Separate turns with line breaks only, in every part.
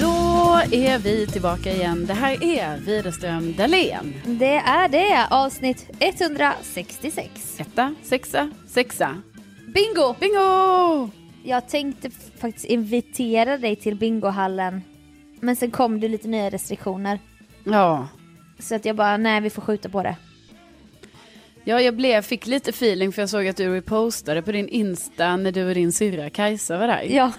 Då är vi tillbaka igen. Det här är Widerström Dahlén.
Det är det, avsnitt 166.
Etta, sexa, sexa.
Bingo!
Bingo!
Jag tänkte f- faktiskt invitera dig till bingohallen. Men sen kom det lite nya restriktioner.
Ja.
Så att jag bara, nej vi får skjuta på det.
ja, jag blev, fick lite feeling för jag såg att du repostade på din Insta när du och din syrra Kajsa var där.
Ja,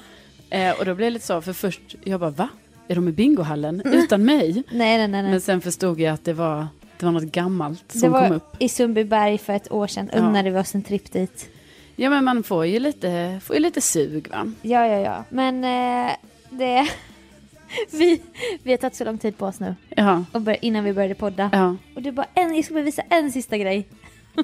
Eh, och då blev jag lite så, för först, jag bara va? Är de i bingohallen utan mig?
nej nej Mm. nej. nej.
Men sen förstod jag att det var, det var något gammalt som
det var
kom upp.
i Sundbyberg för ett år sedan,
Ja.
unnade vi oss en tripp dit.
Ja, men man får ju lite, får ju lite sug va?
Ja, ja, ja. Men eh, det... vi, vi har tagit så lång tid på oss nu,
Ja,
och bör, innan vi började podda.
ja.
Och du bara, en, jag ska bara visa en sista grej.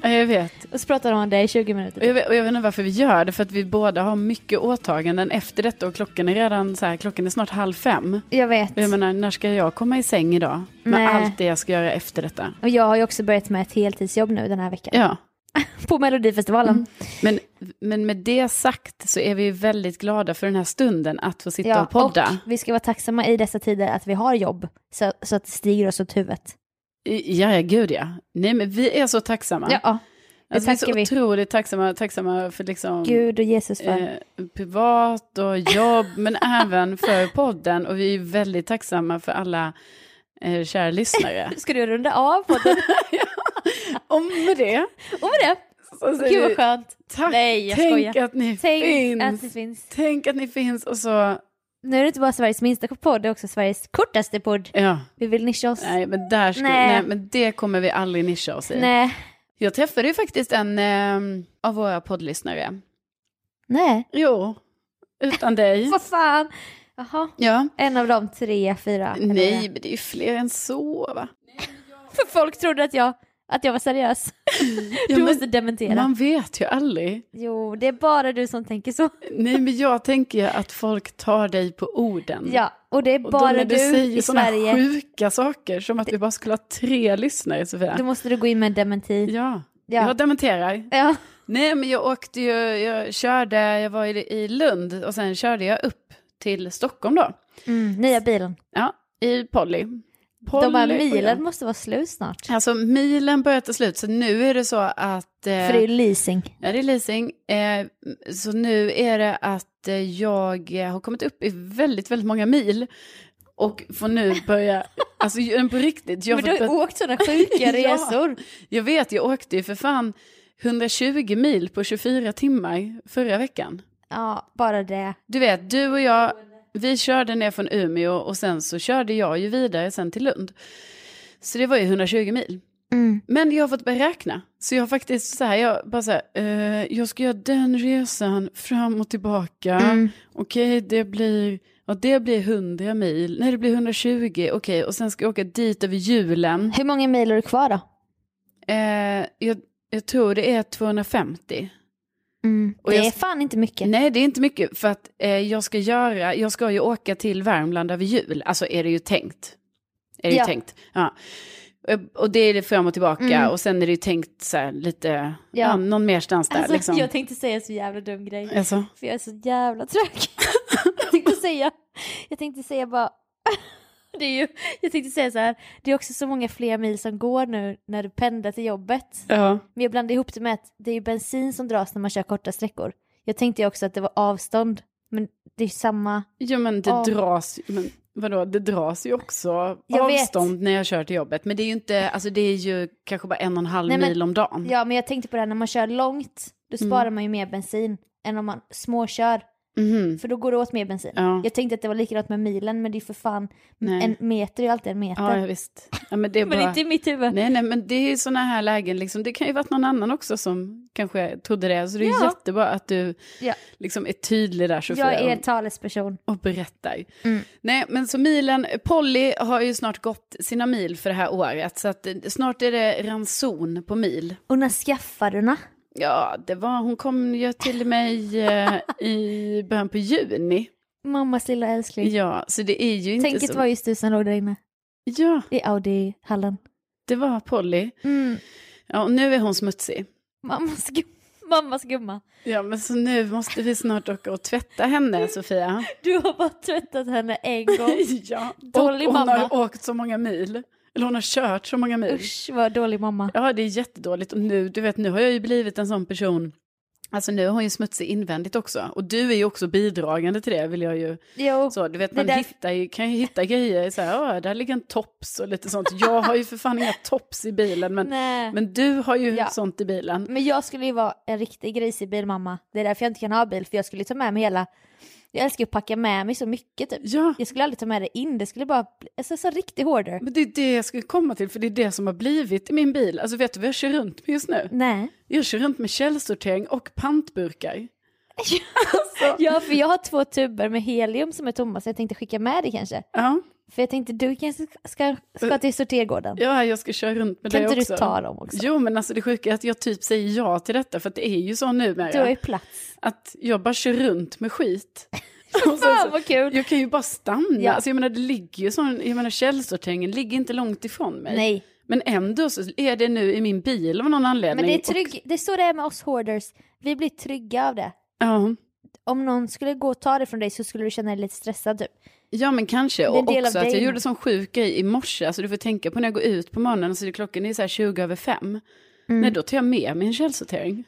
ja jag vet.
Och så pratar de om det i 20 minuter.
Och jag, vet, och jag vet inte varför vi gör det, för att vi båda har mycket åtaganden efter detta och klockan är redan så här, klockan är snart halv fem.
Jag vet.
Och jag menar, när ska jag komma i säng idag? Med
Nej.
allt det jag ska göra efter detta.
Och jag har ju också börjat med ett heltidsjobb nu den här veckan.
Ja, Mm.
På Melodifestivalen.
men, men med det sagt så är vi väldigt glada för den här stunden att få sitta
Ja,
och podda.
och vi ska vara tacksamma i dessa tider att vi har jobb. Så, så att det stiger oss åt huvudet.
I- Ja, ja, gud ja. Nej, men vi är så tacksamma.
Ja, det
alltså, vi är så
tackar vi.
otroligt tacksamma, tacksamma för liksom...
Gud och Jesus för.
Eh, privat och jobb, men även för podden. Och vi är väldigt tacksamma för alla eh, kära lyssnare.
Ska du runda av podden?
Och med det
och med det,
så säger
gud vad
vi
skönt.
tack.
Nej, jag
Tänk
skojar.
att ni
Tänk
finns.
att det finns.
Tänk att ni finns och så,
Nu är det inte bara Sveriges minsta podd, det är också Sveriges kortaste podd.
ja,
Vi vill nischa oss.
nej men där skulle, nej.
Nej.
men det kommer vi aldrig nischa oss i.
Nej.
Jag träffade ju faktiskt en eh, av våra poddlyssnare.
Nej.
Jo, utan dig.
Vad fan. Jaha.
Ja.
En av de tre, fyra. eller vad det
Nej,
är.
men det är ju fler än så va?
För folk trodde att jag, att jag var seriös.
Ja,
du
men
måste dementera.
Man vet ju aldrig.
Jo, det är bara du som tänker så.
Nej, men jag tänker ju att folk tar dig på orden.
Ja, och det är
Och
bara
då när
du,
du säger
i
såna
Sverige.
sjuka saker, som att vi bara skulle ha tre lyssnare, Sofia.
Då måste du gå in med en dementi.
Ja,
Ja.
jag dementerar.
Ja.
Nej, men jag åkte ju, jag körde, jag var i, i Lund och sen körde jag upp till Stockholm då.
Mm, nya bilen.
Ja, i Polly.
De här
Polly och
milen
jag.
måste vara slut snart.
Alltså milen börjar ta slut, så nu är det så att... eh,
För det är ju leasing.
Ja, det är leasing. Eh, så nu är det att eh, jag har kommit upp i väldigt, väldigt många mil. Och får nu börja, alltså ju- på riktigt. Jag,
Men
har
du har
fått
ju
börja-
åkt sådana sjuka
Ja.
resor.
jag vet, jag åkte ju för fan 120 mil på 24 timmar förra veckan.
Ja, bara det.
Du vet, du och jag, vi körde ner från Umeå och sen så körde jag ju vidare sen till Lund. Så det var ju 120 mil.
Mm.
Men jag har fått börja räkna. Så jag har faktiskt så här, jag bara så här, eh, jag ska göra den resan fram och tillbaka.
Mm.
Okej, det blir, ja det blir 100 mil. Nej, det blir 120. Okej, och sen ska jag åka dit över julen.
Hur många mil har du kvar då?
Eh, jag, jag tror det är 250. Och
Mm. Det
jag-
är fan inte mycket.
Nej, det är inte mycket för att eh, jag ska göra, jag ska ju åka till Värmland över jul. Alltså är det ju tänkt. Är det
Ja.
ju tänkt. Ja. Eh, Och det är det fram och tillbaka
Mm.
och sen är det ju tänkt så här lite, ja.
Ja.
någon merstans där
Alltså,
liksom.
Jag tänkte säga så jävla dum grej.
Alltså.
För jag är så jävla trög. jag, tänkte säga, jag tänkte säga bara... det är ju, jag tänkte säga så här, det är också så många fler mil som går nu när du pendlar till jobbet.
Ja.
Men jag blandade ihop det med att det är ju bensin som dras när man kör korta sträckor. Jag tänkte ju också att det var avstånd, men det är ju samma.
Jo men det
Ja.
dras, men vadå, det dras ju också
Jag vet.
avstånd när jag kör till jobbet. Men det är ju inte, alltså det är ju kanske bara en och en halv
Nej, men-
mil om dagen.
Ja, men jag tänkte på det här, när man kör långt, då
Mm.
sparar man ju mer bensin än om man småkör,
Mhm.
för då går det åt mer bensin.
Ja.
Jag tänkte att det var likadant med milen, men det är ju för fan,
Nej.
en meter är ju alltid en meter.
Ja, ja, visst. Ja, men det är bara...
men inte i mitt huvud.
Nej, nej, men det är ju sådana här lägen, liksom, det kan ju varit någon annan också som kanske trodde det. Så det är
Ja.
jättebra att du
Ja.
liksom är tydlig där, Sofia,
Jag är talesperson.
och, och berättar.
Mm.
Nej, men så milen, Polly har ju snart gått sina mil för det här året, så att eh, snart är det ranson på mil.
Och när skaffade du den?
Ja, det var, hon kom ju till mig eh, i början på juni.
Mammas lilla älskling.
Ja, så det är ju inte
Tänket
så...
var just du som låg där inne
Ja,
i Audi-hallen.
det var Polly.
Mm.
Ja, och nu är hon smutsig.
Mammas, gu- mammas gumma.
Ja, men så nu måste vi snart åka och tvätta henne, Sofia.
Du har bara tvättat henne en gång.
ja,
Dålig
och hon
mamma.
har åkt så många mil. Eller hon har kört så många mil.
Usch vad dålig mamma.
Ja, det är jättedåligt. Och nu, du vet, nu har jag ju blivit en sån person. Alltså nu har hon ju smutsig invändigt också. Och du är ju också bidragande till det, vill jag ju.
Jo,
Så, du vet,
Det
man
där-
hittar ju, kan ju hitta grejer, så här, "Åh, där ligger en tops och lite sånt. Jag har ju för fan inga tops i bilen, men,
nej. Men...
men du har ju
Ja.
sånt i bilen.
jag skulle ju vara en riktig grisig bilmamma. Det är därför jag inte kan ha bil, för jag skulle ta med mig hela... Jag älskar ju att packa med mig så mycket typ.
Ja,
Jag skulle aldrig ta med det in, det skulle bara bli... Alltså så riktig hoarder.
men det är det jag skulle komma till, för det är det som har blivit i min bil. Alltså vet du vad jag kör runt med just nu?
Nej.
Jag kör runt med källsortering och pantburkar.
Ja, för jag har två tuber med helium som är tomma så jag tänkte skicka med det kanske.
Ja,
För jag tänkte du kanske ska, ska till sortergården.
ja jag ska köra runt med
kan
det
inte
också.
du ta dem också?
Jo, men alltså det sjuka är att jag typ säger ja till detta, för att det är ju så
Du har
numera.
ju plats.
Att jag bara kör runt med skit. Och sen
Fan
så,
vad kul!
jag kan ju bara stanna.
Ja.
Alltså jag menar, det ligger ju sån, jag menar källsorteringen ligger inte långt ifrån mig.
Nej,
Men ändå så är det nu i min bil av någon
men
anledning.
det är trygg, det står det här med oss hoarders, vi blir trygga av det.
ja.
Om någon skulle gå och ta det från dig så skulle du känna dig lite stressad typ.
Ja men kanske, och
en del av
också att jag
dig.
gjorde sån sjuk grej i morse, alltså du får tänka på när jag går ut på morgonen, så det, klockan är så här 20 över fem.
Mm.
Nej då tar jag med mig en källsortering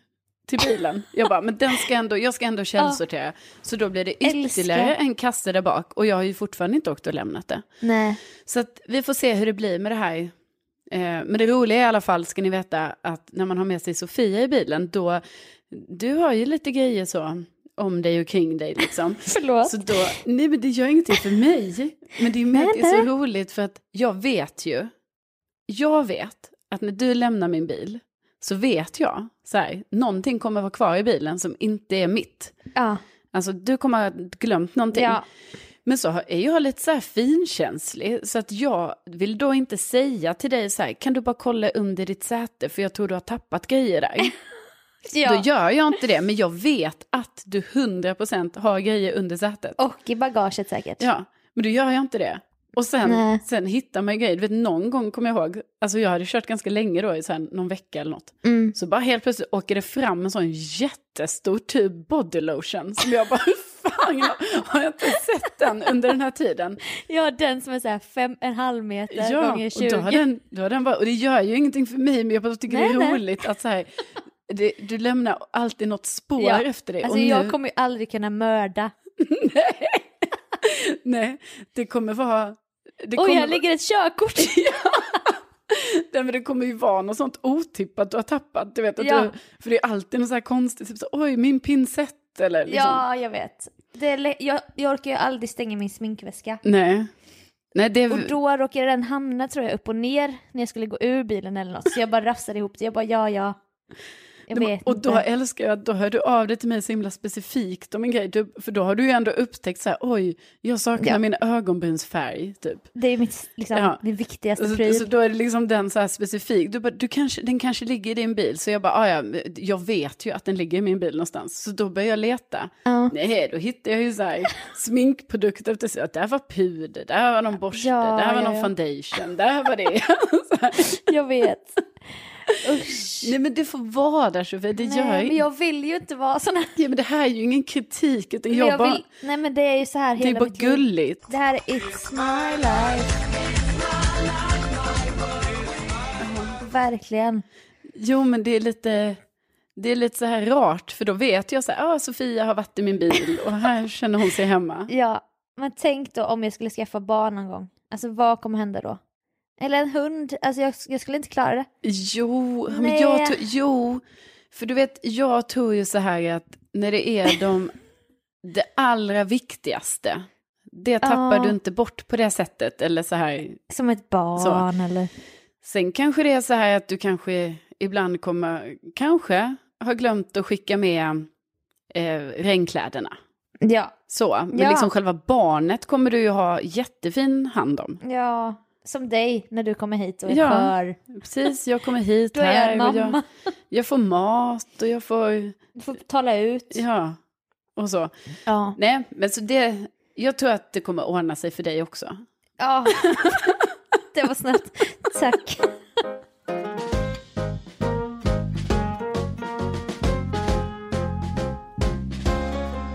till bilen. jag bara, men den ska ändå, jag ska ändå källsortera. Så då blir det ytterligare
Älskar.
en kasse där bak och jag har ju fortfarande inte åkt och lämnat det.
Nej.
Så att vi får se hur det blir med det här. Eh, Men det roliga i alla fall ska ni veta att när man har med sig Sofia i bilen då, du har ju lite grejer så om dig och kring dig liksom.
Förlåt.
Så då, nej men det gör ingenting för mig. Men det är, med att det är så roligt för att jag vet ju, jag vet att när du lämnar min bil så vet jag, så här, någonting kommer vara kvar i bilen som inte är mitt.
Ja.
Alltså du kommer ha glömt någonting.
ja.
Men så har- är jag lite så här finkänslig, så att jag vill då inte säga till dig så här, kan du bara kolla under ditt säte för jag tror du har tappat grejer där.
ja.
Då gör jag inte det, men jag vet att du 100% har grejer under sätet.
Och i bagaget säkert.
Ja, men då gör jag inte det. Och sen,
Nej.
sen hittar man ju grejer. Du vet, någon gång kommer jag ihåg, alltså jag hade kört ganska länge då, i så här någon vecka eller något.
Mm.
Så bara helt plötsligt åker det fram en sån jättestor tub body lotion som jag bara, hur fan jag, har jag inte sett den under den här tiden?
ja, den som är såhär fem, en halv meter
Ja,
gånger
och,
20.
då har den, då har den bara, och det gör ju ingenting för mig, men jag bara tycker
Nej,
det är
nej.
roligt att så här, det, du lämnar alltid något spår
Ja,
efter dig.
Alltså
och nu,
jag kommer ju aldrig kunna mörda.
Nej, det kommer vara... Det
Oj,
kommer,
här ligger ett körkort!
nej, men det kommer ju vara något sånt otippat du har tappat. Du vet, att
Ja.
du, för det är alltid något så här konstigt, typ så, oj, min pinsett eller liksom.
Ja, jag vet. Det är, lä- jag, jag orkar ju aldrig stänga min sminkväska.
Nej, Nej, det...
Och då råkade den hamna tror jag upp och ner när jag skulle gå ur bilen eller något. Så jag bara rafsade ihop det. Jag bara ja, ja. Jag vet
och då
inte.
älskar jag att då hör du av dig till mig så himla specifikt om en grej. Du, för då har du ju ändå upptäckt så här, oj, jag saknar
Ja.
min ögonbrynsfärg, typ.
Det är mitt, liksom,
Ja.
det viktigaste
Så,
pryl.
så Alltså, då är det liksom den så här specifik. Du bara, du kanske, den kanske ligger i din bil. Så jag bara, "Ah, ja, jag vet ju att den ligger i min bil någonstans. Så då börjar jag leta.
Ja.
Nej, då hittar jag ju så här sminkprodukter. Efter sig. Att Där var puder, där var någon borste,
Ja,
där var
ja,
någon
ja.
foundation, där var det.
Jag vet. Usch.
Nej men det får vara där Sofie, det
Nej,
gör jag
men
inte.
jag vill ju inte vara sån här.
Ja, men det här är ju ingen kritik, utan
Men
jag,
jag
bara,
vill... Nej men det är ju så här
det är
hela
bara
mitt liv.
gulligt.
Det här är It's my life. Verkligen.
Jo, men det är lite, det är lite så här rart, för då vet jag så här, ah, Sofia har varit i min bil och här känner hon sig hemma.
Ja, men tänk då om jag skulle skaffa barn någon gång. Alltså vad kommer hända då? Eller en hund, alltså jag, jag skulle inte klara det.
Jo, men
Nej.
jag tror, jo, för du vet, jag tror ju så här att när det är de, det allra viktigaste, det tappar
Ja.
du inte bort på det sättet, eller så här,
Som ett barn eller...
Sen kanske det är så här att du kanske ibland kommer, kanske har glömt att skicka med eh, regnkläderna.
Ja,
Så, men
Ja.
liksom själva barnet kommer du ju ha jättefin hand om.
ja. Som dig när du kommer hit och är
Ja.
skör.
Precis, jag kommer hit
Då är jag
här
en
och jag,
mamma.
jag får mat och jag får,
Du får tala ut.
ja, och så.
Ja.
Nej, men så det, jag tror att det kommer ordna sig för dig också.
Ja. Det var snällt. Tack.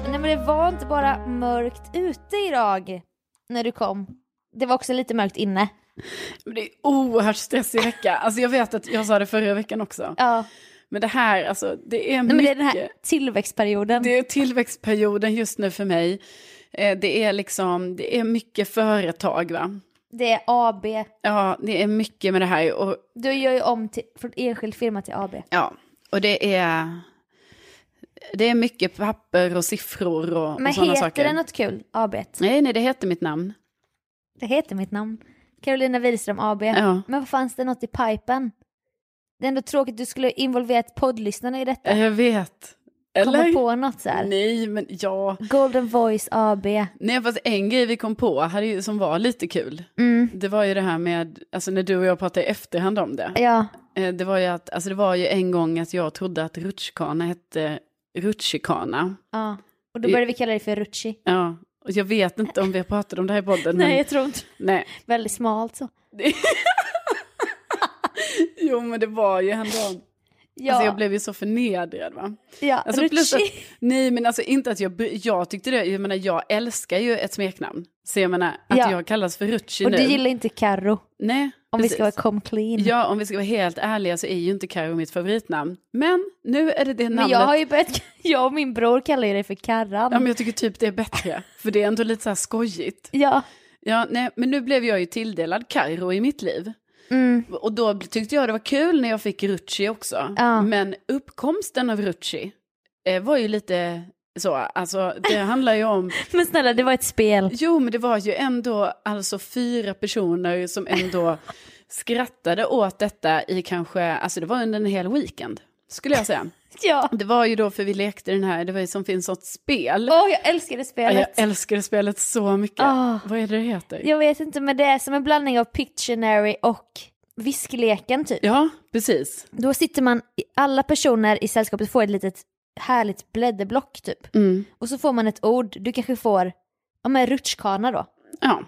Nej men det var inte bara mörkt ute idag när du kom. Det var också lite mörkt inne.
Men det är oerhört stressig vecka, alltså jag vet att jag sa det förra veckan också.
Ja.
Men det här, alltså det är
Nej, men det är
mycket.
den här tillväxtperioden.
Det är tillväxtperioden just nu för mig. Eh, Det är liksom, det är mycket företag va?
Det är AB.
Ja, det är mycket med det här och
Du gör ju om till, från enskild firma till AB.
ja, och det är, det är mycket papper och siffror och,
Men
och sådana
heter
saker.
det något kul? AB.
Nej, nej, det heter mitt namn.
Det heter mitt namn. Carolina Widerström AB.
Ja.
Men vad fanns det något i pipen? Det är ändå tråkigt, du skulle involverat poddlyssnarna i detta.
Ja, Jag vet. Eller?
Komma på något så här.
Nej, men ja.
Golden Voice AB.
Nej, fast en grej vi kom på hade ju, som var lite kul,
Mm.
det var ju det här med, alltså när du och jag pratade i efterhand om det.
Ja,
Eh, Det var ju att, alltså det var ju en gång att jag trodde att rutschkana hette rutschikana.
ja. Och då började vi kalla dig för Rutschi.
Ja, och jag vet inte om vi har pratat om det här i podden.
Nej,
men,
jag tror inte.
nej.
Väldigt smalt så.
Jo, men det var ju ändå...
Ja,
Alltså, jag blev ju så förnedrad. Va?
ja.
Alltså, plus
Rutschi.
att, nej, men alltså inte att jag... bry- Jag tyckte det... Jag menar, jag älskar ju ett smeknamn. Så jag menar, att
Ja.
jag kallas för Rutschi
Och
nu.
du gillar inte Carro,
Nej,
om vi
precis.
ska vara come clean.
Ja, om vi ska vara helt ärliga så är ju inte Karo mitt favoritnamn. Men nu är det det namnet.
Men jag har ju börjat, jag och min bror kallar ju dig för Karran.
Ja, men jag tycker typ det är bättre. För det är ändå lite så här skojigt.
Ja,
Ja, nej, men nu blev jag ju tilldelad Kairo i mitt liv.
Mm.
Och då tyckte jag det var kul när jag fick Rutschi också.
Ja.
Men uppkomsten av Rutschi eh, var ju lite så, alltså det handlar ju om,
men snälla det var ett spel.
jo men det var ju ändå alltså fyra personer som ändå skrattade åt detta i kanske, alltså det var under en hel weekend. Skulle jag säga.
Ja,
Det var ju då för vi lekte den här, det var ju som finns något spel.
åh jag älskar det
Ja,
spelet.
jag älskar det spelet så mycket.
Ah.
Vad är det det heter?
Jag vet inte, men det är som en blandning av Pictionary och viskleken typ.
Ja, precis.
Då sitter man, alla personer i sällskapet får ett litet härligt blädderblock typ.
Mm.
Och så får man ett ord, du kanske får, ja men rutschkana då.
Ja,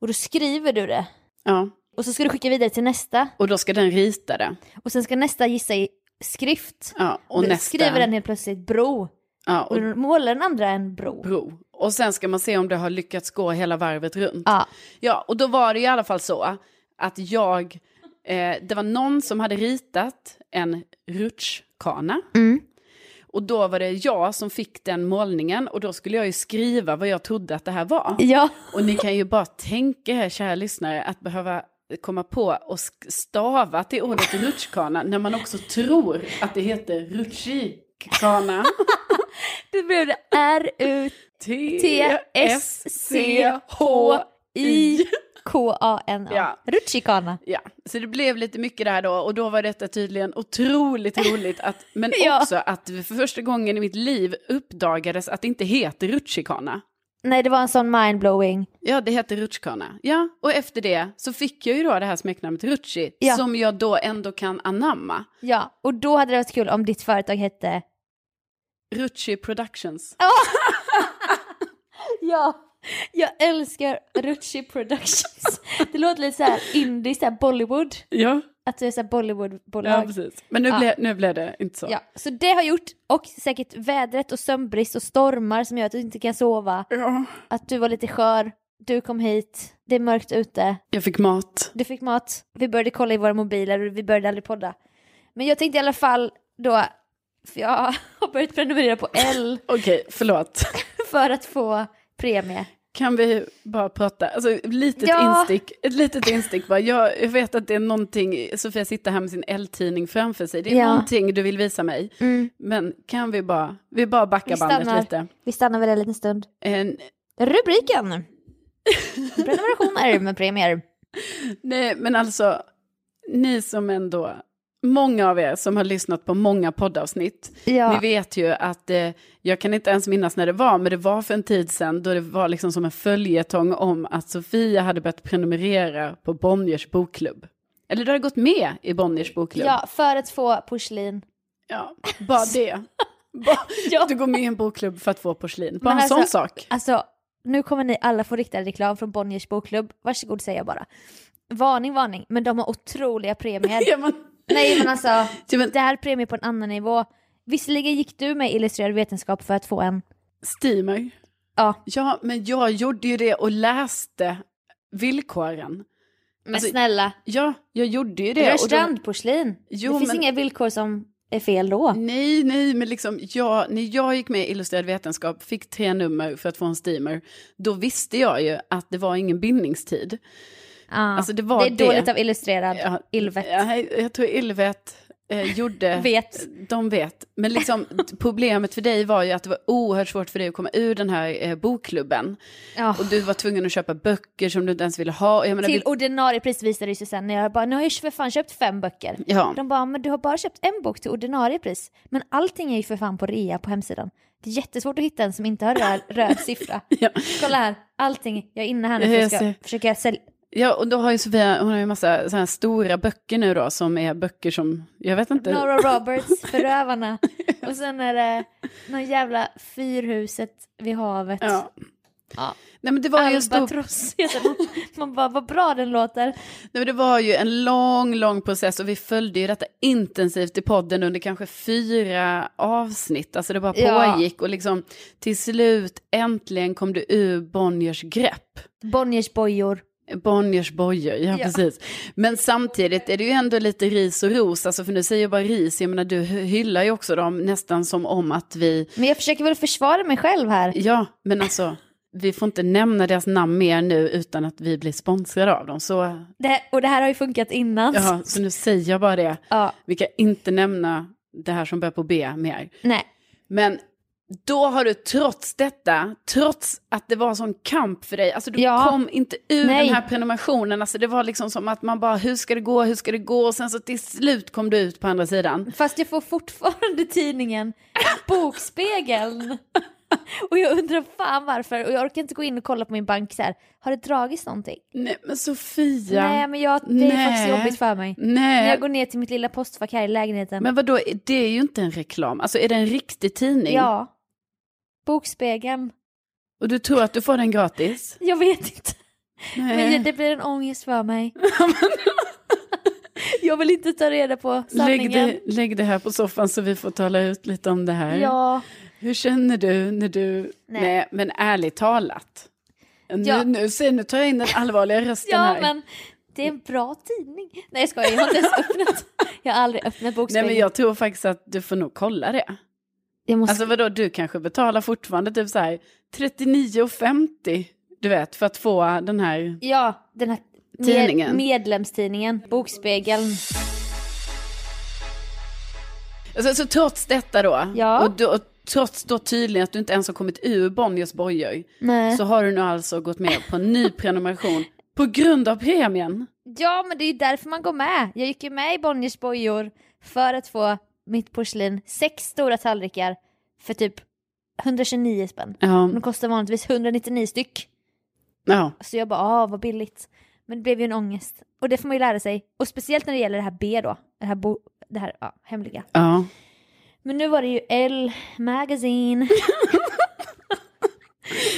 Och då skriver du det.
ja.
Och så ska du skicka vidare till nästa.
Och då ska den rita det.
Och sen ska nästa gissa i skrift.
Ja, och
Då
nästa.
Skriver den helt plötsligt bro.
ja,
Och
och
då målar den andra en bro.
bro. Och sen ska man se om det har lyckats gå hela varvet runt.
Ja.
Ja, och då var det i alla fall så att jag, eh, det var någon som hade ritat en rutschkana.
Mm.
Och då var det jag som fick den målningen och då skulle jag ju skriva vad jag trodde att det här var.
Ja.
Och ni kan ju bara tänka här, kära lyssnare, att behöva komma på och sk- stava till ordet rutschkana när man också tror att det heter rutschikana.
Då blev det R-U-T-S-C-H-I. R-U-C-H-I-K-A-N-A.
Ja.
Rutschikana.
Ja, så det blev lite mycket där då och då var detta tydligen otroligt roligt. Att, men
Ja.
också att för första gången i mitt liv uppdagades att det inte heter rutschkana.
Nej, det var en sån mindblowing.
Ja, det heter rutschkana. Ja, och efter det så fick jag ju då det här smeknamnet Rutschi
Ja.
som jag då ändå kan anamma.
Ja, och då hade det varit kul om ditt företag hette...
Rutschi Productions.
Ja, jag älskar Rutschi Productions. Det låter lite så här indie, så här Bollywood.
Ja,
Att du är så här
ja
Bollywood-bolag.
precis. Men nu,
Ja.
blev, nu blev det inte så.
Ja, så det har jag gjort och säkert vädret och sömnbrist och stormar som gör att du inte kan sova.
Ja.
Att du var lite skör, du kom hit, det är mörkt ute,
Jag fick mat.
du fick mat, vi började kolla i våra mobiler och vi började aldrig podda. Men jag tänkte i alla fall då, för jag har börjat prenumerera på L
Okej, förlåt.
för att få premie.
Kan vi bara prata, alltså ett litet
Ja.
instick, ett litet instick bara. Jag jag vet att det är någonting, Sofia sitter här med sin L-tidning framför sig, det är
Ja. Mm.
någonting du vill visa mig. Men kan vi bara, vi bara backar
Vi
bandet
stannar.
lite. Eh,
Vi stannar väl en liten stund.
En,
Rubriken! Prenumerationer med premier.
nej, men alltså, ni som ändå, många av er som har lyssnat på många poddavsnitt,
Ja.
ni vet ju att, eh, jag kan inte ens minnas när det var, men det var för en tid sedan då det var liksom som en följetong om att Sofia hade börjat prenumerera på Bonniers bokklubb. Eller du har gått med i Bonniers bokklubb.
Ja, för att få porslin.
Ja, bara det. Bara,
Ja.
Du går med i en bokklubb för att få porslin. Bara
Men
en sån
alltså-
sak.
Alltså, nu kommer ni alla få riktad reklam från Bonniers bokklubb. Varsågod säger jag bara. Varning, varning, men de har otroliga premier.
Ja, men,
Nej men alltså,
Ja, men-
det här är premier på en annan nivå. Visserligen gick du med illustrerad vetenskap för att få en.
steamer.
Ja,
Ja, men jag gjorde ju det och läste villkoren.
men
Alltså,
snälla.
Ja, jag gjorde ju det. och då-
Rörstrandporslin.
Jo,
det finns
men-
inga villkor som är fel då.
Nej, nej, men liksom, jag, när jag gick med i Illustrerad vetenskap, fick tre nummer för att få en steamer, då visste jag ju att det var ingen bindningstid.
Ja.
Alltså, det var
är dåligt
det.
av illustrerad.
Ja,
Ilvet.
Ja, jag tror Ilvet eh, gjorde...
Vet.
De vet. Men liksom, problemet för dig var ju att det var oerhört svårt för dig att komma ur den här eh, bokklubben.
Ja.
Och du var tvungen att köpa böcker som du inte ens ville ha. Jag menar,
Till
vill-
ordinarie pris visade det sig sen när jag bara, nu har jag ju för fan köpt fem böcker.
Ja.
De bara, men du har bara köpt en bok till ordinarie pris. Men allting är ju för fan på rea på hemsidan. Det är jättesvårt att hitta en som inte har röd, röd siffra.
Ja.
Kolla här, allting, jag är inne här nu
Ja,
för
jag
jag ska
ser.
försöka sälja.
ja, och då har ju Sofia, hon har ju massa så här stora böcker nu då, som är böcker som, jag vet inte.
Nora Roberts, Förövarna. Och sen är det någon jävla Fyrhuset vid havet.
Ja.
Ja.
Nej, men det var ju en stor
Albatross heter den. Man bara, vad bra den låter.
Nej, men det var ju en lång, lång process och vi följde ju detta intensivt i podden under kanske fyra avsnitt. Alltså det bara
Ja.
pågick och liksom till slut äntligen kom du ur Bonniers grepp.
Bonniers bojor.
Bonniers bojor, ja,
Ja.
precis. Men samtidigt är det ju ändå lite ris och ros, alltså för nu säger jag bara ris, jag menar du hyllar ju också dem nästan som om att vi,
Men jag försöker väl försvara mig själv här.
ja men alltså vi får inte nämna deras namn mer nu utan att vi blir sponsrade av dem. Så,
Det här, och det här har ju funkat innan.
ja, så nu säger jag bara det.
Ja,
Vi kan inte nämna det här som börjar på B mer.
nej.
Men då har du trots detta, trots att det var sån kamp för dig, alltså du
Ja.
kom inte ur
Nej.
den här prenumerationen, alltså det var liksom som att man bara, hur ska det gå, hur ska det gå, och sen så till slut kom du ut på andra sidan.
Fast jag får fortfarande tidningen Bokspegeln. Och jag undrar fan varför. Och jag orkar inte gå in och kolla på min bank så här. Har det dragits någonting?
Nej men Sofia.
Nej men jag, det är
Nej.
faktiskt jobbigt för mig.
Nej.
När jag går ner till mitt lilla postfack här i lägenheten.
Men vadå, det är ju inte en reklam, alltså är det en riktig tidning?
ja. Bokspegeln.
Och du tror att du får den gratis?
Jag vet inte.
Nej.
Men det blir en ångest för mig. jag vill inte ta reda på
lägg,
sanningen.
det, lägg det här på soffan så vi får tala ut lite om det här.
Ja.
Hur känner du när du... Nej,
Nej.
men ärligt talat. Nu,
Ja.
nu, se, nu tar jag in den allvarliga rösten
Ja
här.
men det är en bra tidning. Nej jag skojar, jag har inte ens öppnat. Jag har aldrig öppnat
Nej,
bokspegeln.
men jag tror faktiskt att du får nog kolla det.
jag måste...
Alltså vadå, du kanske betalar fortfarande typ så här 39,50 du vet, för att få den här...
Ja, den här med-
Tidningen.
medlemstidningen, Bokspegeln.
Alltså, så trots detta då,
Ja.
och, då, och trots då tydligen att du inte ens har kommit ur Bonniers bojor,
Nej.
så har du nu alltså gått med på en ny prenumeration på grund av premien.
Ja, men det är ju därför man går med. Jag gick ju med i Bonniers bojor för att få mitt porslin, sex stora tallrikar för typ 129 spänn.
Ja,
De kostar vanligtvis 199 styck.
ja.
Så jag bara, ah vad billigt. Men det blev ju en ångest. Och det får man ju lära sig. Och speciellt när det gäller det här B då. Det här, bo- det här ja, hemliga.
ja.
Men nu var det ju L Magazine.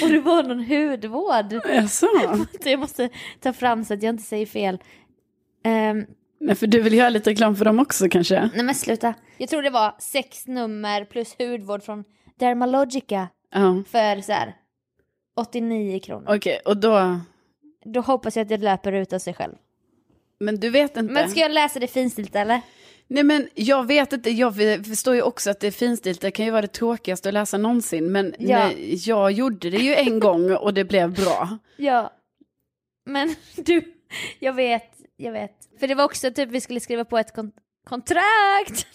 och det var någon hudvård.
Jaså?
Så jag måste ta fram så att jag inte säger fel. Ehm,
Nej, för du vill göra lite reklam för dem också kanske?
nej men sluta. Jag tror det var sex nummer plus hudvård från Dermalogica
Ja.
för så här 89 kronor.
Okej, och då...
Då hoppas jag att jag löper ut av sig själv.
Men du vet inte.
Men ska jag läsa det finstilt eller?
Nej men jag vet inte, jag v- förstår ju också att det är finstilt, det kan ju vara det tråkigaste att läsa någonsin. Men
Ja.
nej, jag gjorde det ju en gång och det blev bra.
Ja. Men du, jag vet, jag vet. För det var också typ vi skulle skriva på ett kon- kontrakt.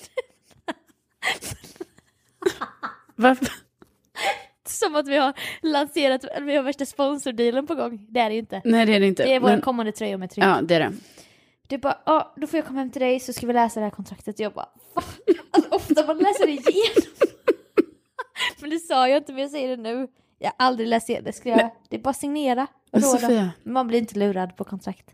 Varför?
Som att vi har lanserat, eller vi har värsta sponsordealen på gång. Det är det ju inte.
Nej det är det inte.
Det är vår
Men-
kommande tröja med tryck.
Ja det är det.
Du bara, ja då får jag komma hem till dig så ska vi läsa det här kontraktet. Jag bara, "Fan." alltså, ofta man läser det igenom. men det sa jag inte, men jag säger det nu. Jag har aldrig läst igenom det, ska jag, det är bara signera.
Men
Vadå då?
Sofia.
Man blir inte lurad på kontrakt.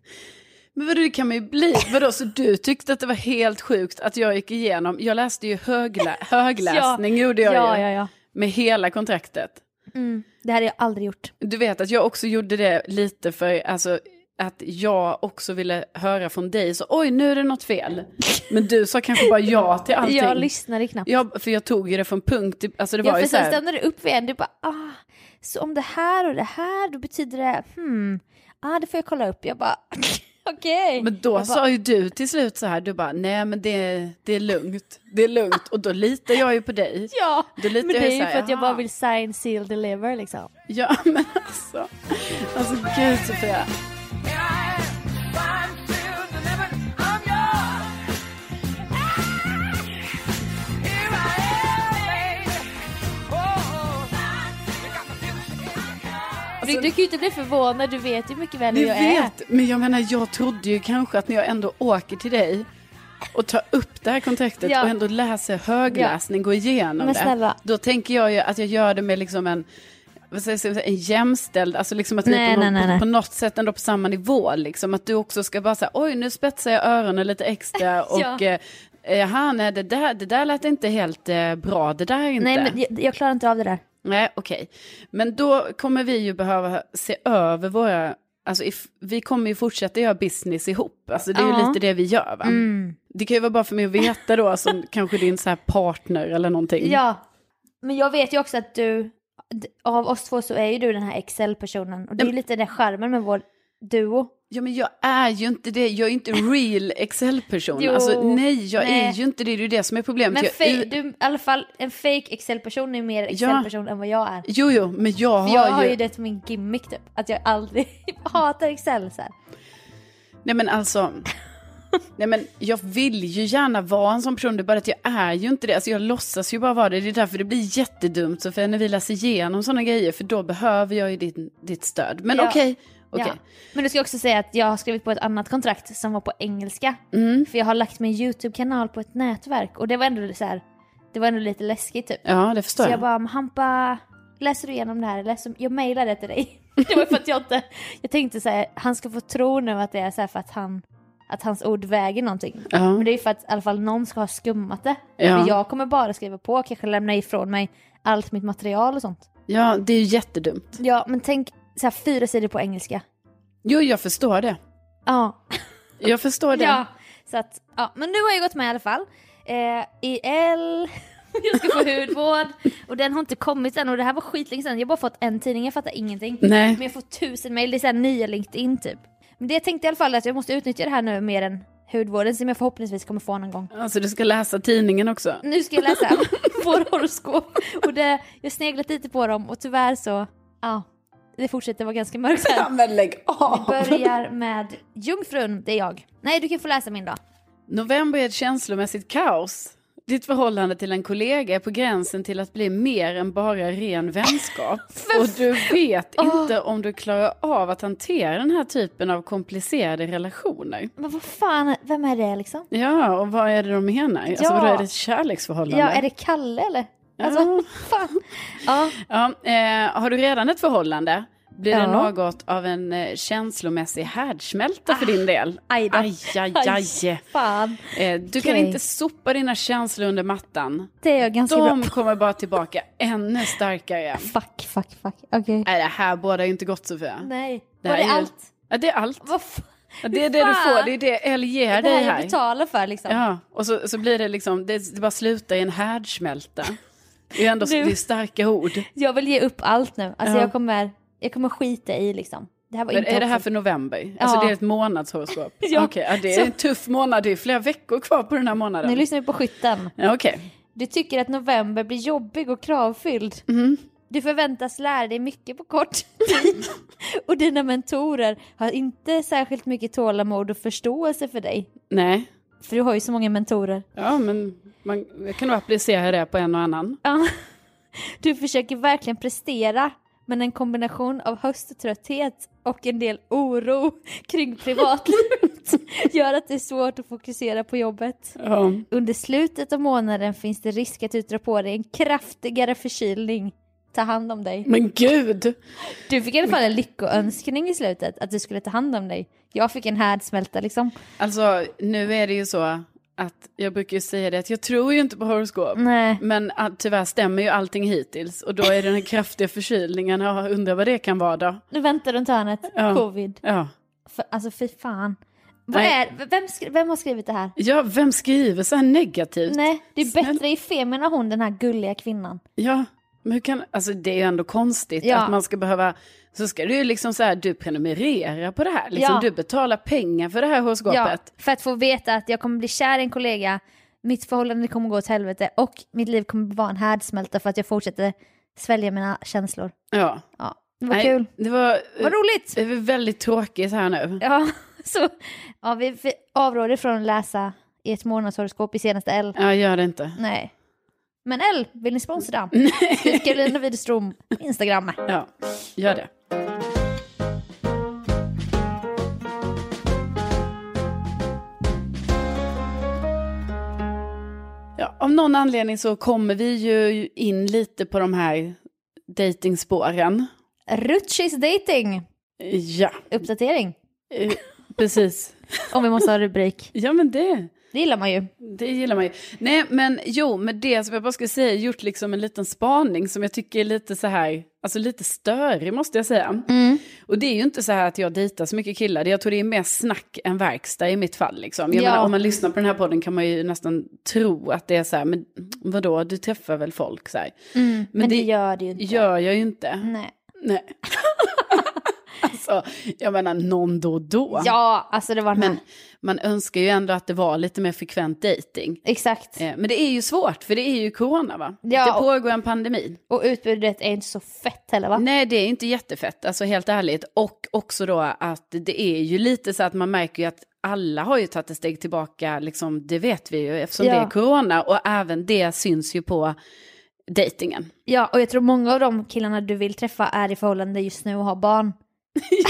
Men vadå det kan man ju bli. Vadå så du tyckte att det var helt sjukt att jag gick igenom, jag läste ju höglä- högläsning gjorde jag
ja,
ju.
ja, ja.
Med hela kontraktet.
Mm, det hade jag aldrig gjort.
Du vet att jag också gjorde det lite för alltså, att jag också ville höra från dig. Så oj, nu är det något fel. Men du sa kanske bara ja till allting.
Jag lyssnade knappt.
Ja, för jag tog ju det från punkt till... Alltså det var
Ja,
ju
för
så
sen
här,
stannade det upp igen. Du bara, ah, så om det här och det här, då betyder det, hmm, ah, det får jag kolla upp. Jag bara, okej.
Men då
jag bara,
sa ju du till slut så här, du bara nej men det, det är lugnt, det är lugnt. Och då litar jag ju på dig.
ja,
då litar
men det
jag ju
är
så
ju
här,
för att jag
"Jaha."
bara vill sign, seal, deliver liksom.
Ja men alltså, alltså gud Sofia.
Du, du kan ju inte bli förvånad, du vet ju mycket väl hur
Du
jag är.
Alltså, vet, men jag menar jag trodde ju kanske att när jag ändå åker till dig och tar upp det här kontraktet
Ja.
och ändå läser högläsning, går igenom
Men
det.
snälla.
Då tänker jag ju att jag gör det med liksom en, vad säger jag, en jämställd, alltså liksom att vi
Nej,
är på,
nej,
någon,
nej, nej.
på något sätt ändå på samma nivå. Liksom. Att du också ska bara säga, oj nu spetsar jag öronen lite extra och
Ja.
eh, eh, "Jaha, nej, det, där, det där lät inte helt eh, bra, det där är inte.
Nej, men jag, jag klarar inte av det där.
Nej, okej. Men då kommer vi ju behöva se över våra... Alltså if, vi kommer ju fortsätta göra business ihop. Alltså det är ju
Ja. Mm.
lite det vi gör va? Det kan ju vara bara för mig att veta då som kanske din så här partner eller någonting.
Mm. Ja, men jag vet ju också att du, d- av oss två så är ju du den här Excel-personen. Och det är ju lite den charmen med vår duo.
ja men jag är ju inte det. Jag är ju inte real Excel-person.
Jo.
Alltså nej, jag är
Nej.
ju inte det. Det är ju det som är problemet.
Men
jag,
fej- du, i alla fall en fake Excel-person är ju mer Excel-person än vad jag är.
Jo, jo, men jag
För jag
har,
har
ju...
ju det som min gimmick typ, att jag aldrig hatar Excel så här.
Nej men alltså. Nej men jag vill ju gärna vara en sån person, det är bara att jag är ju inte det. Alltså jag låtsas ju bara vara det. Det är därför det blir jättedumt så för när vi läser igenom sådana grejer, för då behöver jag ju ditt, ditt stöd. Men
Ja.
okej, okej.
Ja. Men du ska jag också säga att jag har skrivit på ett annat kontrakt som var på engelska. För jag har lagt min YouTube-kanal på ett nätverk och det var ändå så här, det var ändå lite läskigt typ.
Ja. det förstår
Så
jag.
jag bara, "Men Hampa, läser du igenom det här? Läser, jag mejlade det till dig. Det var för att jag inte, jag tänkte så här, han ska få tro nu att det är så här för att han, att hans ord väger någonting.
Ja.
Men det är ju för att i alla fall någon ska ha skummat det.
Ja.
Men jag kommer bara skriva på, kanske lämna ifrån mig allt mitt material och sånt.
Ja, det är ju jättedumt.
Ja, men tänk så här fyra sidor på engelska.
Jo, jag förstår det.
Ja.
Jag förstår det.
Ja, så att, ja, men nu har jag gått med i alla fall. Eh, I L, jag ska få hudvård och den har inte kommit än och det här var skitlänge sedan. Jag har bara fått en tidning, jag fattar ingenting.
Nej.
Men jag får tusen mejl, det är såhär nya LinkedIn typ. Men det jag tänkte i alla fall är att jag måste utnyttja det här nu mer än hudvården som jag förhoppningsvis kommer få någon gång.
Alltså du ska läsa tidningen också.
Nu ska jag läsa vår horoskop och det, jag har sneglat lite på dem och tyvärr så, ja, det fortsätter vara ganska mörkt här.
men lägg av!
Börjar med Jungfrun, det är jag. Nej, du kan få läsa min då.
November är ett känslomässigt kaos. Ditt förhållande till en kollega är på gränsen till att bli mer än bara ren vänskap. och du vet inte om du klarar av att hantera den här typen av komplicerade relationer.
Men vad fan, vem är det liksom?
Ja, och vad är det de menar? Alltså,
Ja.
vadå, är det ett kärleksförhållande?
Ja, är det Kalle eller? Alltså,
Ja.
fan. Ja,
Ja, eh, har du redan ett förhållande? Blir det
Ja.
något av en eh, känslomässig härdsmälta för din del?
Ah, aj då.
Aj, aj, aj.
fan.
Eh, du kan
Okej.
inte sopa dina känslor under mattan.
Det är jag ganska
De
bra på.
kommer bara tillbaka ännu starkare.
Fuck, fuck, fuck. Okej.
Nej, det här båda är inte gott Sofia.
Nej,
Det
var
här
det
är ju-
allt?
Ja, det är allt.
Vad fan?
Ja, det är det du
Fan.
får, det är det L ger
Det
dig
här jag
här.
betalar för liksom.
Ja, och så, så blir det liksom, det, det bara slutar i en härdsmälta. Det är ändå
Nu.
det är starka ord.
Jag vill ge upp allt nu. Alltså
Ja.
jag kommer, jag kommer skita i liksom. Det här var
Men
inte
är det här
hoppfullt.
för november? Alltså
Ja.
det är ett månadshoroskop?
Ja.
ja. Okej, ja, det är
Så-
en tuff månad, det är flera veckor kvar på den här månaden.
Nu lyssnar vi på skytten.
ja, Okej,
Du tycker att november blir jobbig och kravfylld.
Mm-hmm.
Du förväntas lära dig mycket på kort tid. och dina mentorer har inte särskilt mycket tålamod och förståelse för dig.
nej.
För du har ju så många mentorer.
Ja, men man jag kan nog applicera det på en och annan.
Ja. Du försöker verkligen prestera, men en kombination av hösttrötthet och en del oro kring privatlivet gör att det är svårt att fokusera på jobbet.
Ja.
Under slutet av månaden finns det risk att du drar på dig en kraftigare förkylning. Ta hand om dig.
Men gud!
Du fick i alla fall en lyckoönskning i slutet, att du skulle ta hand om dig. Jag fick en härdsmälta liksom.
Alltså, nu är det ju så att jag brukar ju säga det att jag tror ju inte på horoskop.
Nej.
Men ah, tyvärr stämmer ju allting hittills. Och då är den här kraftiga förkylningen, ja, undrar vad det kan vara då.
Nu väntar runt hörnet,
Ja.
covid.
Ja.
För, alltså fy fan. Vad
Nej.
är, vem, skri- vem har skrivit det här?
ja, vem skriver så här negativt?
Nej, det är
Snäll-
bättre i Femina hon, den här gulliga kvinnan.
Ja, men hur kan, alltså det är ju ändå konstigt
Ja.
att man ska behöva, så ska du ju liksom så här, du prenumererar på det här, liksom
Ja.
du betalar pengar för det här horoskopet.
för att få veta att jag kommer bli kär i en kollega, mitt förhållande kommer gå åt helvete och mitt liv kommer vara en härdsmälta för att jag fortsätter svälja mina känslor.
Ja.
Ja, det var
Nej, Eh,
kul.
Det var,
Vad roligt!
det var väldigt tråkigt här nu.
Ja, så ja, vi vi avråder från att läsa i ett månadshoroskop i senaste L.
Ja, gör det inte.
Nej. Men L, vill ni sponsra? Skriv Carolina Widerström på Instagram.
Ja, gör det. Ja, av någon anledning så kommer vi ju in lite på de här datingspåren.
Rutschis dating,
Ja,
uppdatering.
eh, precis.
Om vi måste ha rubrik.
Ja, men det,
Det gillar man ju.
det gillar man ju. Nej, men jo, med det som jag bara skulle säga, gjort liksom en liten spaning som jag tycker är lite så här, alltså lite störig måste jag säga.
Mm.
Och det är ju inte så här att jag dejtar så mycket killar, Det- jag tror det är mer snack än verkstad i mitt fall. Liksom. Jag
Ja.
menar, om man lyssnar på den här podden kan man ju nästan tro att det är så här, men vadå, du träffar väl folk så här. men,
Mm. Men det gör det ju inte.
gör jag ju inte.
Nej.
Nej. alltså, jag menar någon då och då.
Ja, alltså det var
Men
men,
man önskar ju ändå att det var lite mer frekvent dating.
Exakt.
Eh, Men det är ju svårt, för det är ju corona va?
Ja,
det
och-
pågår en pandemi.
Och utbudet är inte så fett heller va?
Nej, det är inte jättefett, alltså helt ärligt. Och också då att det är ju lite så att man märker ju att alla har ju tagit ett steg tillbaka, liksom, det vet vi ju, eftersom
Ja.
det är corona. Och även det syns ju på dejtingen.
Ja, och jag tror många av de killarna du vill träffa är i förhållande just nu och har barn.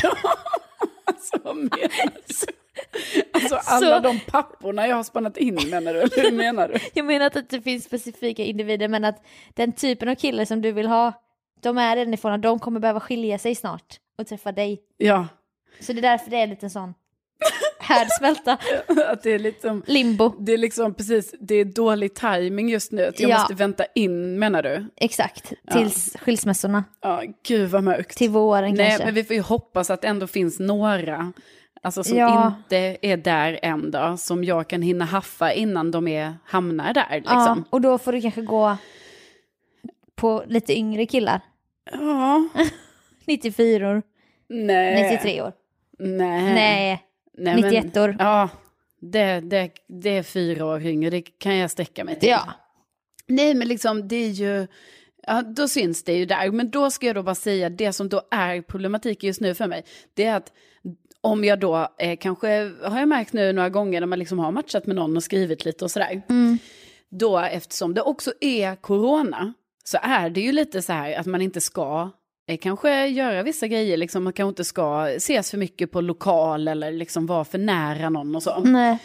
ja, alltså vad menar du? Alltså alla
Så-
de papporna jag har spannat in menar du, eller hur menar du?
Jag menar inte att det finns specifika individer men att den typen av killar som du vill ha, de är redan ifrån och de kommer behöva skilja sig snart och träffa dig.
Ja,
Så det är därför det är lite sån härdsmälta,
att det är liksom...
limbo.
Det är liksom precis, det är dålig timing just nu. Att jag
Ja.
måste vänta in menar du?
Exakt, tills skilsmässorna,
Ja, gud vad mörkt.
till våren
Nej,
kanske.
men vi får ju hoppas att det ändå finns några. Alltså som
Ja.
inte är där än då, som jag kan hinna haffa innan de är, hamnar där.
ja,
Liksom.
och då får du kanske gå på lite yngre killar,
Ja.
94 år,
Nej.
93 år.
Eh, Nej.
Nej.
Nej, men-
91 år.
Ja, det, det, det är fyra år yngre, det kan jag sträcka mig till.
Ja.
Nej, men liksom det är ju... Ja, då syns det ju där. Men då ska jag då bara säga, det som då är problematik just nu för mig, det är att om jag då eh, kanske, har jag märkt nu några gånger när man liksom har matchat med någon och skrivit lite och sådär, då eftersom det också är corona så är det ju lite så här att man inte ska eh, kanske göra vissa grejer, liksom, man kanske inte ska ses för mycket på lokal eller liksom vara för nära någon och så.
Nej.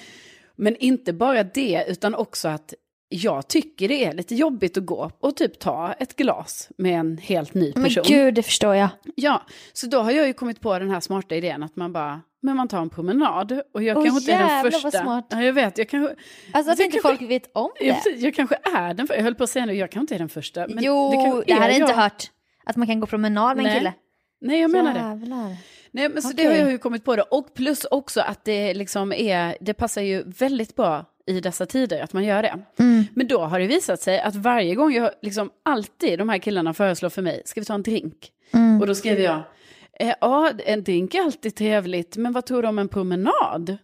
Men inte bara det, utan också att jag tycker det är lite jobbigt att gå och typ ta ett glas med en helt ny
Men
person.
gud, det förstår jag. Alltså,
Ja, så då har jag ju kommit på den här smarta idén att man bara, men man tar en promenad. Och jag
Åh,
kanske inte är
jävlar,
den
vad
första.
smart.
Ja, jag vet, jag kanske,
Alltså att
Det
inte
kanske-
folk vet om
jag,
det.
precis, jag kanske är den första. Jag höll på att säga nu, jag kanske inte är den första. Men
jo,
kanske
det, här har jag
jag.
inte hört. Att man kan gå promenad med en
Nej,
kille.
Nej, jag menar det.
Jävlar.
Nej, men så
Okej.
det har jag ju kommit på då. Och plus också att det liksom är, det passar ju väldigt bra i dessa tider att man gör det. Men då har det visat sig att varje gång jag liksom alltid de här killarna föreslår för mig, ska vi ta en drink? Och då skriver jag, eh, ja en drink är alltid trevligt, men vad tror du om en promenad?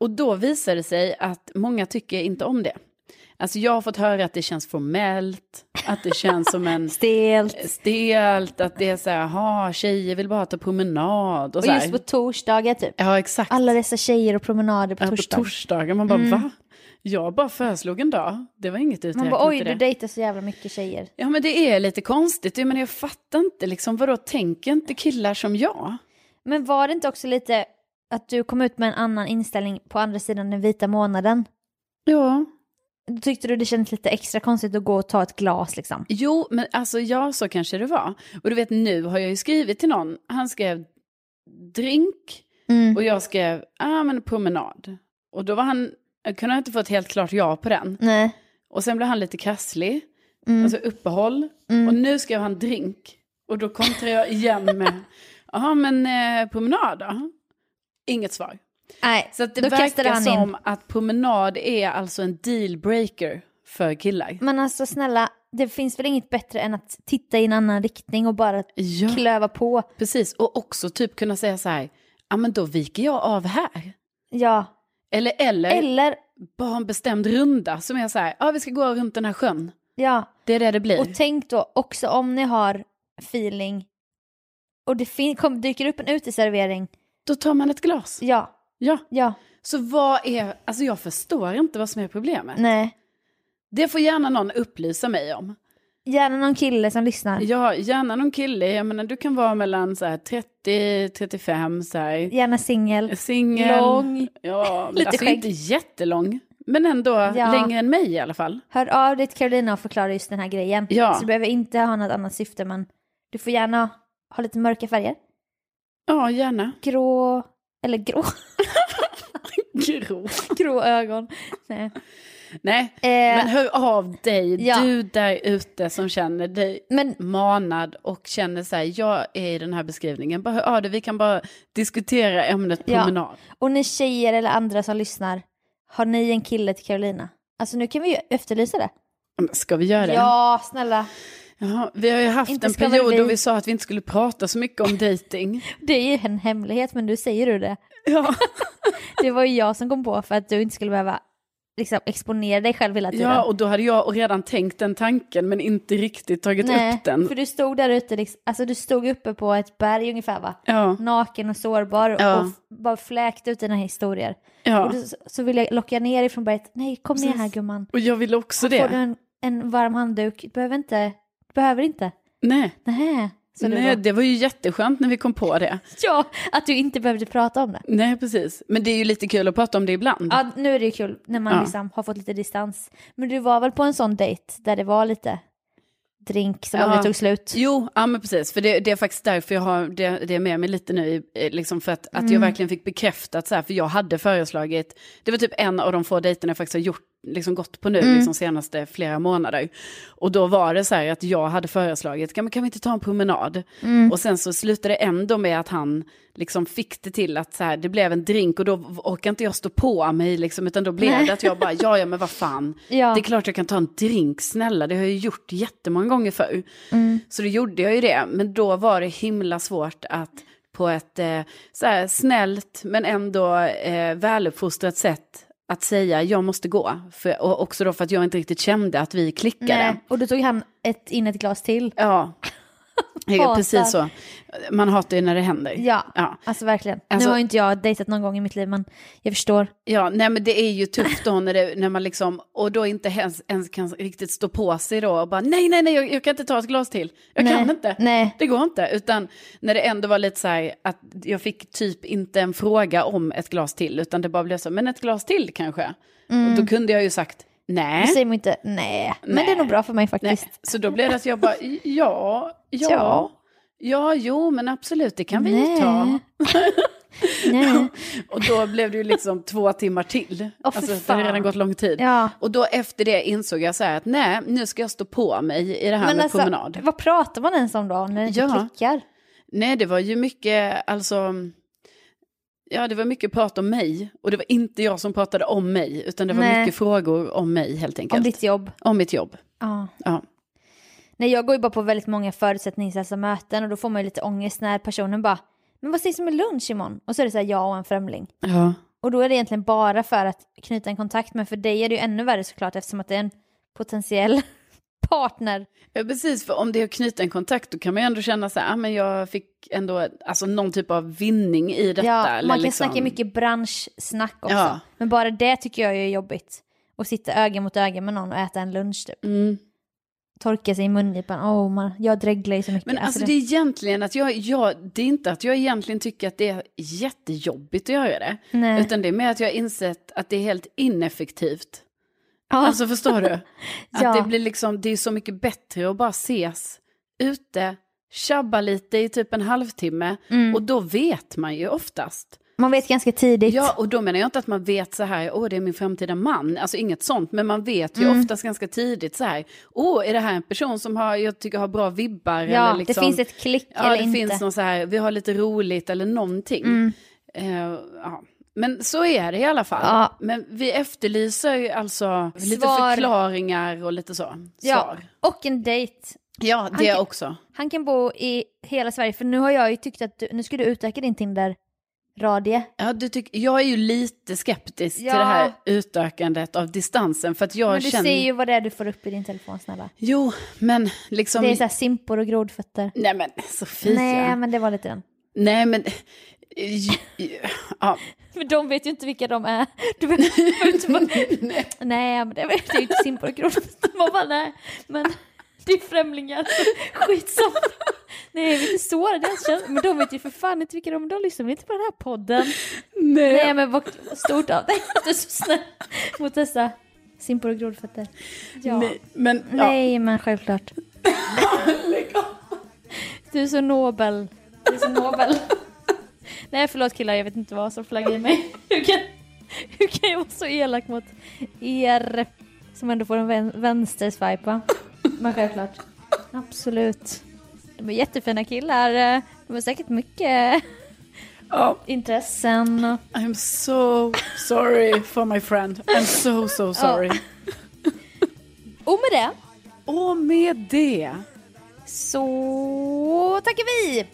Och då visar det sig att många tycker inte om det. Alltså jag har fått höra att det känns formellt, att det känns som en
Stelt.
stelt, att det är så här, ha tjejer vill bara ta promenad. Och,
Och
så här.
just på torsdagar typ.
Ja, exakt.
Alla dessa tjejer och promenader på
Ja, på
torsdag.
torsdagar. Man bara, va? Jag bara föreslog en dag. Det var inget
Man
uträknat
bara oj,
i
du
det.
dejtar så jävla mycket tjejer.
Ja, men det är lite konstigt. Jag, menar, jag fattar inte, liksom, vadå, tänker inte killar som jag?
Men var det inte också lite att du kom ut med en annan inställning på andra sidan den vita månaden?
Ja.
Då tyckte du det kändes lite extra konstigt att gå och ta ett glas liksom.
Jo, men alltså ja, så kanske det var. Och du vet, nu har jag ju skrivit till någon. Han skrev drink
Mm.
och jag skrev, ah men promenad. Och då var han, jag kunde inte få ett helt klart ja på den.
Nej.
Och sen blev han lite krasslig. Alltså uppehåll. Och nu skrev han drink. Och då kontrar jag igen med, jaha men eh, promenad då? Inget svar.
Nej,
Så att det
då kastade
verkar
han
som
in.
att promenad är alltså en dealbreaker för killar.
Men alltså snälla, det finns väl inget bättre än att titta i en annan riktning och bara
Ja,
klöva på.
precis. Och också typ kunna säga så här, ja men då viker jag av här.
Ja.
Eller, eller,
Eller,
bara ha en bestämd runda som är så här, ja vi ska gå runt den här sjön.
ja.
Det är det det blir.
Och tänk då också om ni har feeling och det fin- kom, dyker upp en uteservering.
Då tar man ett glas.
Ja,
Ja.
ja,
Så vad är, alltså jag förstår inte vad som är problemet.
nej.
Det får gärna någon upplysa mig om.
Gärna någon kille som lyssnar.
Ja, gärna någon kille. Jag menar, du kan vara mellan så här 30, 35, så här.
Gärna singel.
Singel.
Lång.
Ja, men
Lite
alltså
skägg.
inte jättelång. Men ändå
Ja.
längre än mig i alla fall.
Hör av dig till Carolina och förklara just den här grejen.
Ja.
Så du behöver inte ha något annat syfte men du får gärna ha lite mörka färger.
Ja, gärna.
Grå, eller grå,
Grå.
grå ögon. Nej.
Nej,
Eh,
men hör av dig,
ja.
du där ute som känner dig
men
manad och känner så här, jag är i den här beskrivningen. Bara hör av dig, vi kan bara diskutera ämnet
Ja.
promenad.
Och ni tjejer eller andra som lyssnar, har ni en kille till Carolina? Alltså nu kan vi ju efterlysa det.
Men Ska vi göra det?
Ja, snälla.
Ja, vi har ju haft
Inte
en
ska väl
period då
vi-
vi sa att vi inte skulle prata så mycket om dating.
Det är ju en hemlighet men du säger du det.
Ja,
Det var ju jag som kom på för att du inte skulle behöva liksom, exponera dig själv hela tiden.
ja och då hade jag redan tänkt den tanken men inte riktigt tagit
Nej,
upp den.
för du stod där ute, liksom, alltså du stod uppe på ett berg ungefär va?
Ja,
Naken och sårbar
Ja.
och f- bara fläkte ut dina historier.
ja.
Och då, s- så ville jag locka ner ifrån berget, nej kom ner
Precis.
här gumman.
och jag ville också
Får du
det.
en, en varm handduk, du behöver inte, du behöver inte.
Nej,
Nähä, sa du
nej
då.
det var ju jätteskönt när vi kom på det.
Ja, att du inte behövde prata om det.
Nej, precis. Men det är ju lite kul att prata om det ibland.
Ja, nu är det ju kul när man
Ja.
liksom har fått lite distans. Men du var väl på en sån dejt där det var lite drink som
Ja.
aldrig tog slut?
Jo, ja men precis. För det, det är faktiskt därför jag har det, det med mig lite nu. eh, Liksom för att, att jag verkligen fick bekräftat så här, för jag hade föreslagit, det var typ en av de få dejterna jag faktiskt har gjort, liksom gått på nu, liksom senaste flera månader. Och då var det så här att jag hade föreslagit, kan, kan vi inte ta en promenad? Och sen så slutade det ändå med att han liksom fick det till att så här, det blev en drink och då orkade inte jag stå på mig liksom, utan då blev det att jag bara, ja ja men vad fan,
Ja.
det är klart jag kan ta en drink, snälla, det har jag ju gjort jättemånga gånger förr. Så då gjorde jag ju det, men då var det himla svårt att på ett eh, så här, snällt men ändå eh, väluppfostrat sätt att säga jag måste gå. För, och också då för
Eh,
att jag inte riktigt kände att vi klickade.
Nej. Och då tog han ett, in ett glas till.
Ja, Ja,
Hatar.
precis så. Man hatar ju när det händer.
Ja,
Ja.
alltså verkligen.
Alltså-
nu har ju inte jag dejtat någon gång i mitt liv, men jag förstår.
Ja, nej men det är ju tufft då när, det, när man liksom, och då inte ens, ens kan riktigt stå på sig då och bara nej, nej, nej, jag, jag kan inte ta ett glas till. Jag
Nej,
kan inte.
nej.
Det går inte. Utan när det ändå var lite så här att jag fick typ inte en fråga om ett glas till, utan det bara blev så, men ett glas till kanske. Och
Mm.
då kunde jag ju sagt
Då
nej.
säger man inte nej, men det är nog bra för mig
nej.
faktiskt.
Så då blev det att jag bara ja, ja, ja,
Ja.
jo, men absolut, det kan vi ju
Nej.
ta.
Nej.
Och då blev det ju liksom två timmar till.
Åh, för
alltså, det har
fan.
redan gått lång tid.
Ja.
Och då efter det insåg jag så här att nej, nu ska jag stå på mig i det här
Men
med
alltså,
promenad.
vad pratar man ens om då när det inte
Ja.
klickar?
Nej, det var ju mycket, alltså, ja det var mycket prat om mig. Och det var inte jag som pratade om mig, utan det var
Nej.
mycket frågor om mig helt enkelt.
Om ditt jobb?
Om mitt jobb.
Ja.
Ja.
Nej, jag går ju bara på väldigt många förutsättningslösa möten och då får man ju lite ångest när personen bara “men vad sägs om en lunch imorgon?” och så är det så här jag och en främling.
ja.
Och då är det egentligen bara för att knyta en kontakt, men för dig är det ju ännu värre såklart eftersom att det är en potentiell partner.
Ja, precis. För om det är att knyta en kontakt, då kan man ju ändå känna så här, ah, men jag fick ändå alltså, någon typ av vinning i detta.
ja,
eller
man kan
liksom-
snacka mycket branschsnack också.
Ja.
Men bara det tycker jag är jobbigt. Att sitta öga mot öga med någon och äta en lunch typ.
Mm.
Torka sig i mungipan. Åh, man, jag dreglar ju så mycket.
Men alltså, det är egentligen att jag, jag, det är inte att jag egentligen tycker att det är jättejobbigt att göra det.
Nej.
Utan det är mer att jag har insett att det är helt ineffektivt.
Ja.
Alltså förstår du?
Ja.
Att det blir liksom, det är så mycket bättre att bara ses ute, tjabba lite i typ en halvtimme.
Mm.
Och då vet man ju oftast.
Man vet ganska tidigt.
Ja, och då menar jag inte att man vet så här, åh det är min framtida man, alltså inget sånt, men man vet
Mm.
ju oftast ganska tidigt så här, åh är det här en person som har, jag tycker har bra vibbar?
Ja,
eller liksom,
det finns ett klick
Ja,
eller
det
inte. Mm.
finns någon så här, vi har lite roligt eller någonting. Eh, ja. Men så är det i alla fall.
Ja.
Men vi efterlyser ju alltså lite
Svar.
förklaringar och lite så.
Ja,
Svar.
och en dejt.
Ja, det
kan-
också.
Han kan bo i hela Sverige, för nu har jag ju tyckt att du, nu ska du utöka din Tinder-radie.
Ja, du tyck, jag är ju lite skeptisk
Ja.
till det här utökandet av distansen. För att jag
Men du
känner...
ser ju vad det är du får upp i din telefon, snälla.
Jo, men liksom...
Det är såhär simpor och grodfötter.
Nej men Sofia.
Nej, men det var lite den.
Nej, men... Ja,
För de vet ju inte vilka de är. Du behöver inte bara... nej. men det vet jag ju inte simpor och grodfötter. Man bara, nej, men det är främlingar. Skitsamma. Nej, vi är inte såra deras känslor. Men de vet ju för fan inte vilka de är. De lyssnar väl inte på den här podden.
nej.
Nej men vad vad stort av dig att du är så snäll mot dessa simpor och grodfötter. Ja. Nej,
nej, men... Ja.
men självklart. Du är så nobel. Du är så nobel. Nej förlåt killar, jag vet inte vad som flaggade i mig. Hur kan, hur kan jag vara så elak mot er som ändå får en vän, vänsterswipe va? Men självklart. Absolut. De är jättefina killar. De har säkert mycket
Ja.
intressen. och-
I'm so sorry for my friend. I'm so so sorry.
Och med det
Och med det,
så tackar vi!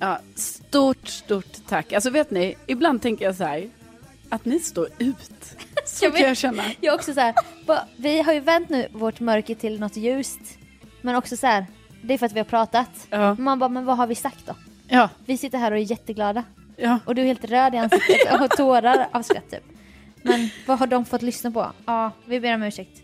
ja, stort stort tack. Alltså vet ni, ibland tänker jag så här, att ni står ut. Så kan
Jag vet-
jag känna.
Jag är också så här, va- vi har ju vänt nu vårt mörker till något ljust. Men också så här, det är för att vi har pratat.
Ja,
Man bara, men vad har vi sagt då?
ja,
Vi sitter här och är jätteglada.
ja.
Och du är helt röd i ansiktet och har tårar av skratt typ. Men vad har de fått lyssna på? Ja, vi ber om ursäkt.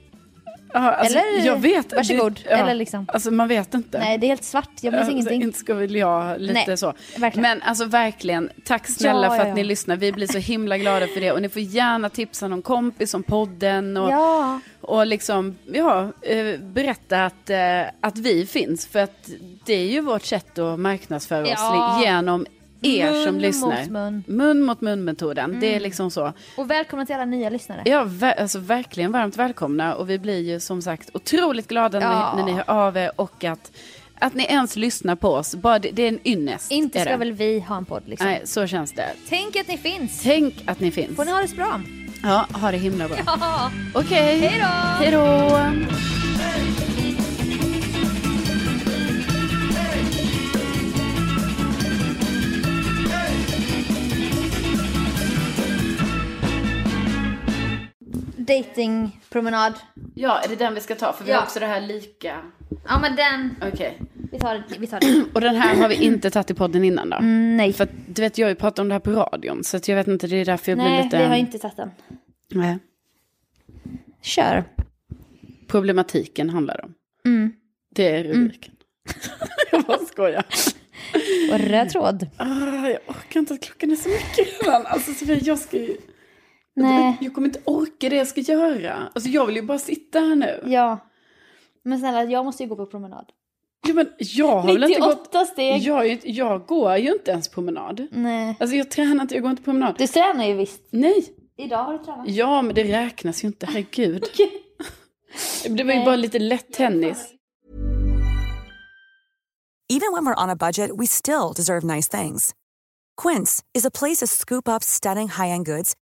ja alltså,
Eller-
jag vet,
varsågod.
Det, ja,
Eller liksom.
Alltså man vet inte.
Nej, det är helt svart. Jag minns
Alltså,
ingenting.
Inte ska väl jag lite
Nej,
så.
verkligen.
Men alltså verkligen, tack snälla
Ja,
för
ja,
att
ja.
ni lyssnar. Vi blir så himla glada för det. Och ni får gärna tipsa någon kompis om podden. Och,
Ja,
Och liksom, ja, eh, berätta att, eh, att vi finns. För att det är ju vårt sätt att marknadsföra
Ja.
oss li- genom er som
Mun
lyssnar.
mot mun. Mm.
mun mot mun-metoden. Det är liksom så.
och välkomna till alla nya lyssnare.
Ja, ver- alltså verkligen varmt välkomna. Och vi blir ju som sagt otroligt glada
Ja.
när, när ni hör av er. Och att, att ni ens lyssnar på oss. Bara det, det är en ynnest.
Inte
är
ska
det.
väl vi ha en podd liksom.
Nej, så känns det.
Tänk att ni finns.
Tänk att ni finns.
Får ni ha det så bra.
Ja, ha det himla bra.
Ja.
Okej.
Hej då!
Hej då!
Datingpromenad.
Ja, är det den vi ska ta? För vi
Ja.
har också det här lika.
Ja men den.
Okej.
Vi tar det. Vi tar det.
Och den här har vi inte tagit i podden innan då?
Mm, nej.
För att, du vet, jag har ju pratat om det här på radion, så att jag vet inte, det är därför jag blir
Nej,
lite...
vi har inte tagit den.
Nej.
Kör.
Problematiken handlar om.
Mm.
Det är rubriken. jag bara skojar.
Och röd tråd.
Ah, jag orkar inte att klockan är så mycket redan. Alltså Sofia, jag ska ju...
Nej.
Jag kommer inte orka det jag ska göra. Alltså jag vill ju bara sitta här nu. Ja,
Ja. Men snälla, jag måste ju gå på promenad.
men jag har väl inte gått...
98 steg.
Jag, är ju- jag går ju inte ens promenad.
Nej.
Alltså jag tränar inte, jag går inte promenad.
Du tränar ju visst.
Nej,
Idag har du tränat.
ja men det räknas ju inte, herregud. Det var ju bara lite lätt tennis.
Even when we're on a budget, we still deserve nice things. Quince is a place to scoop up stunning high-end goods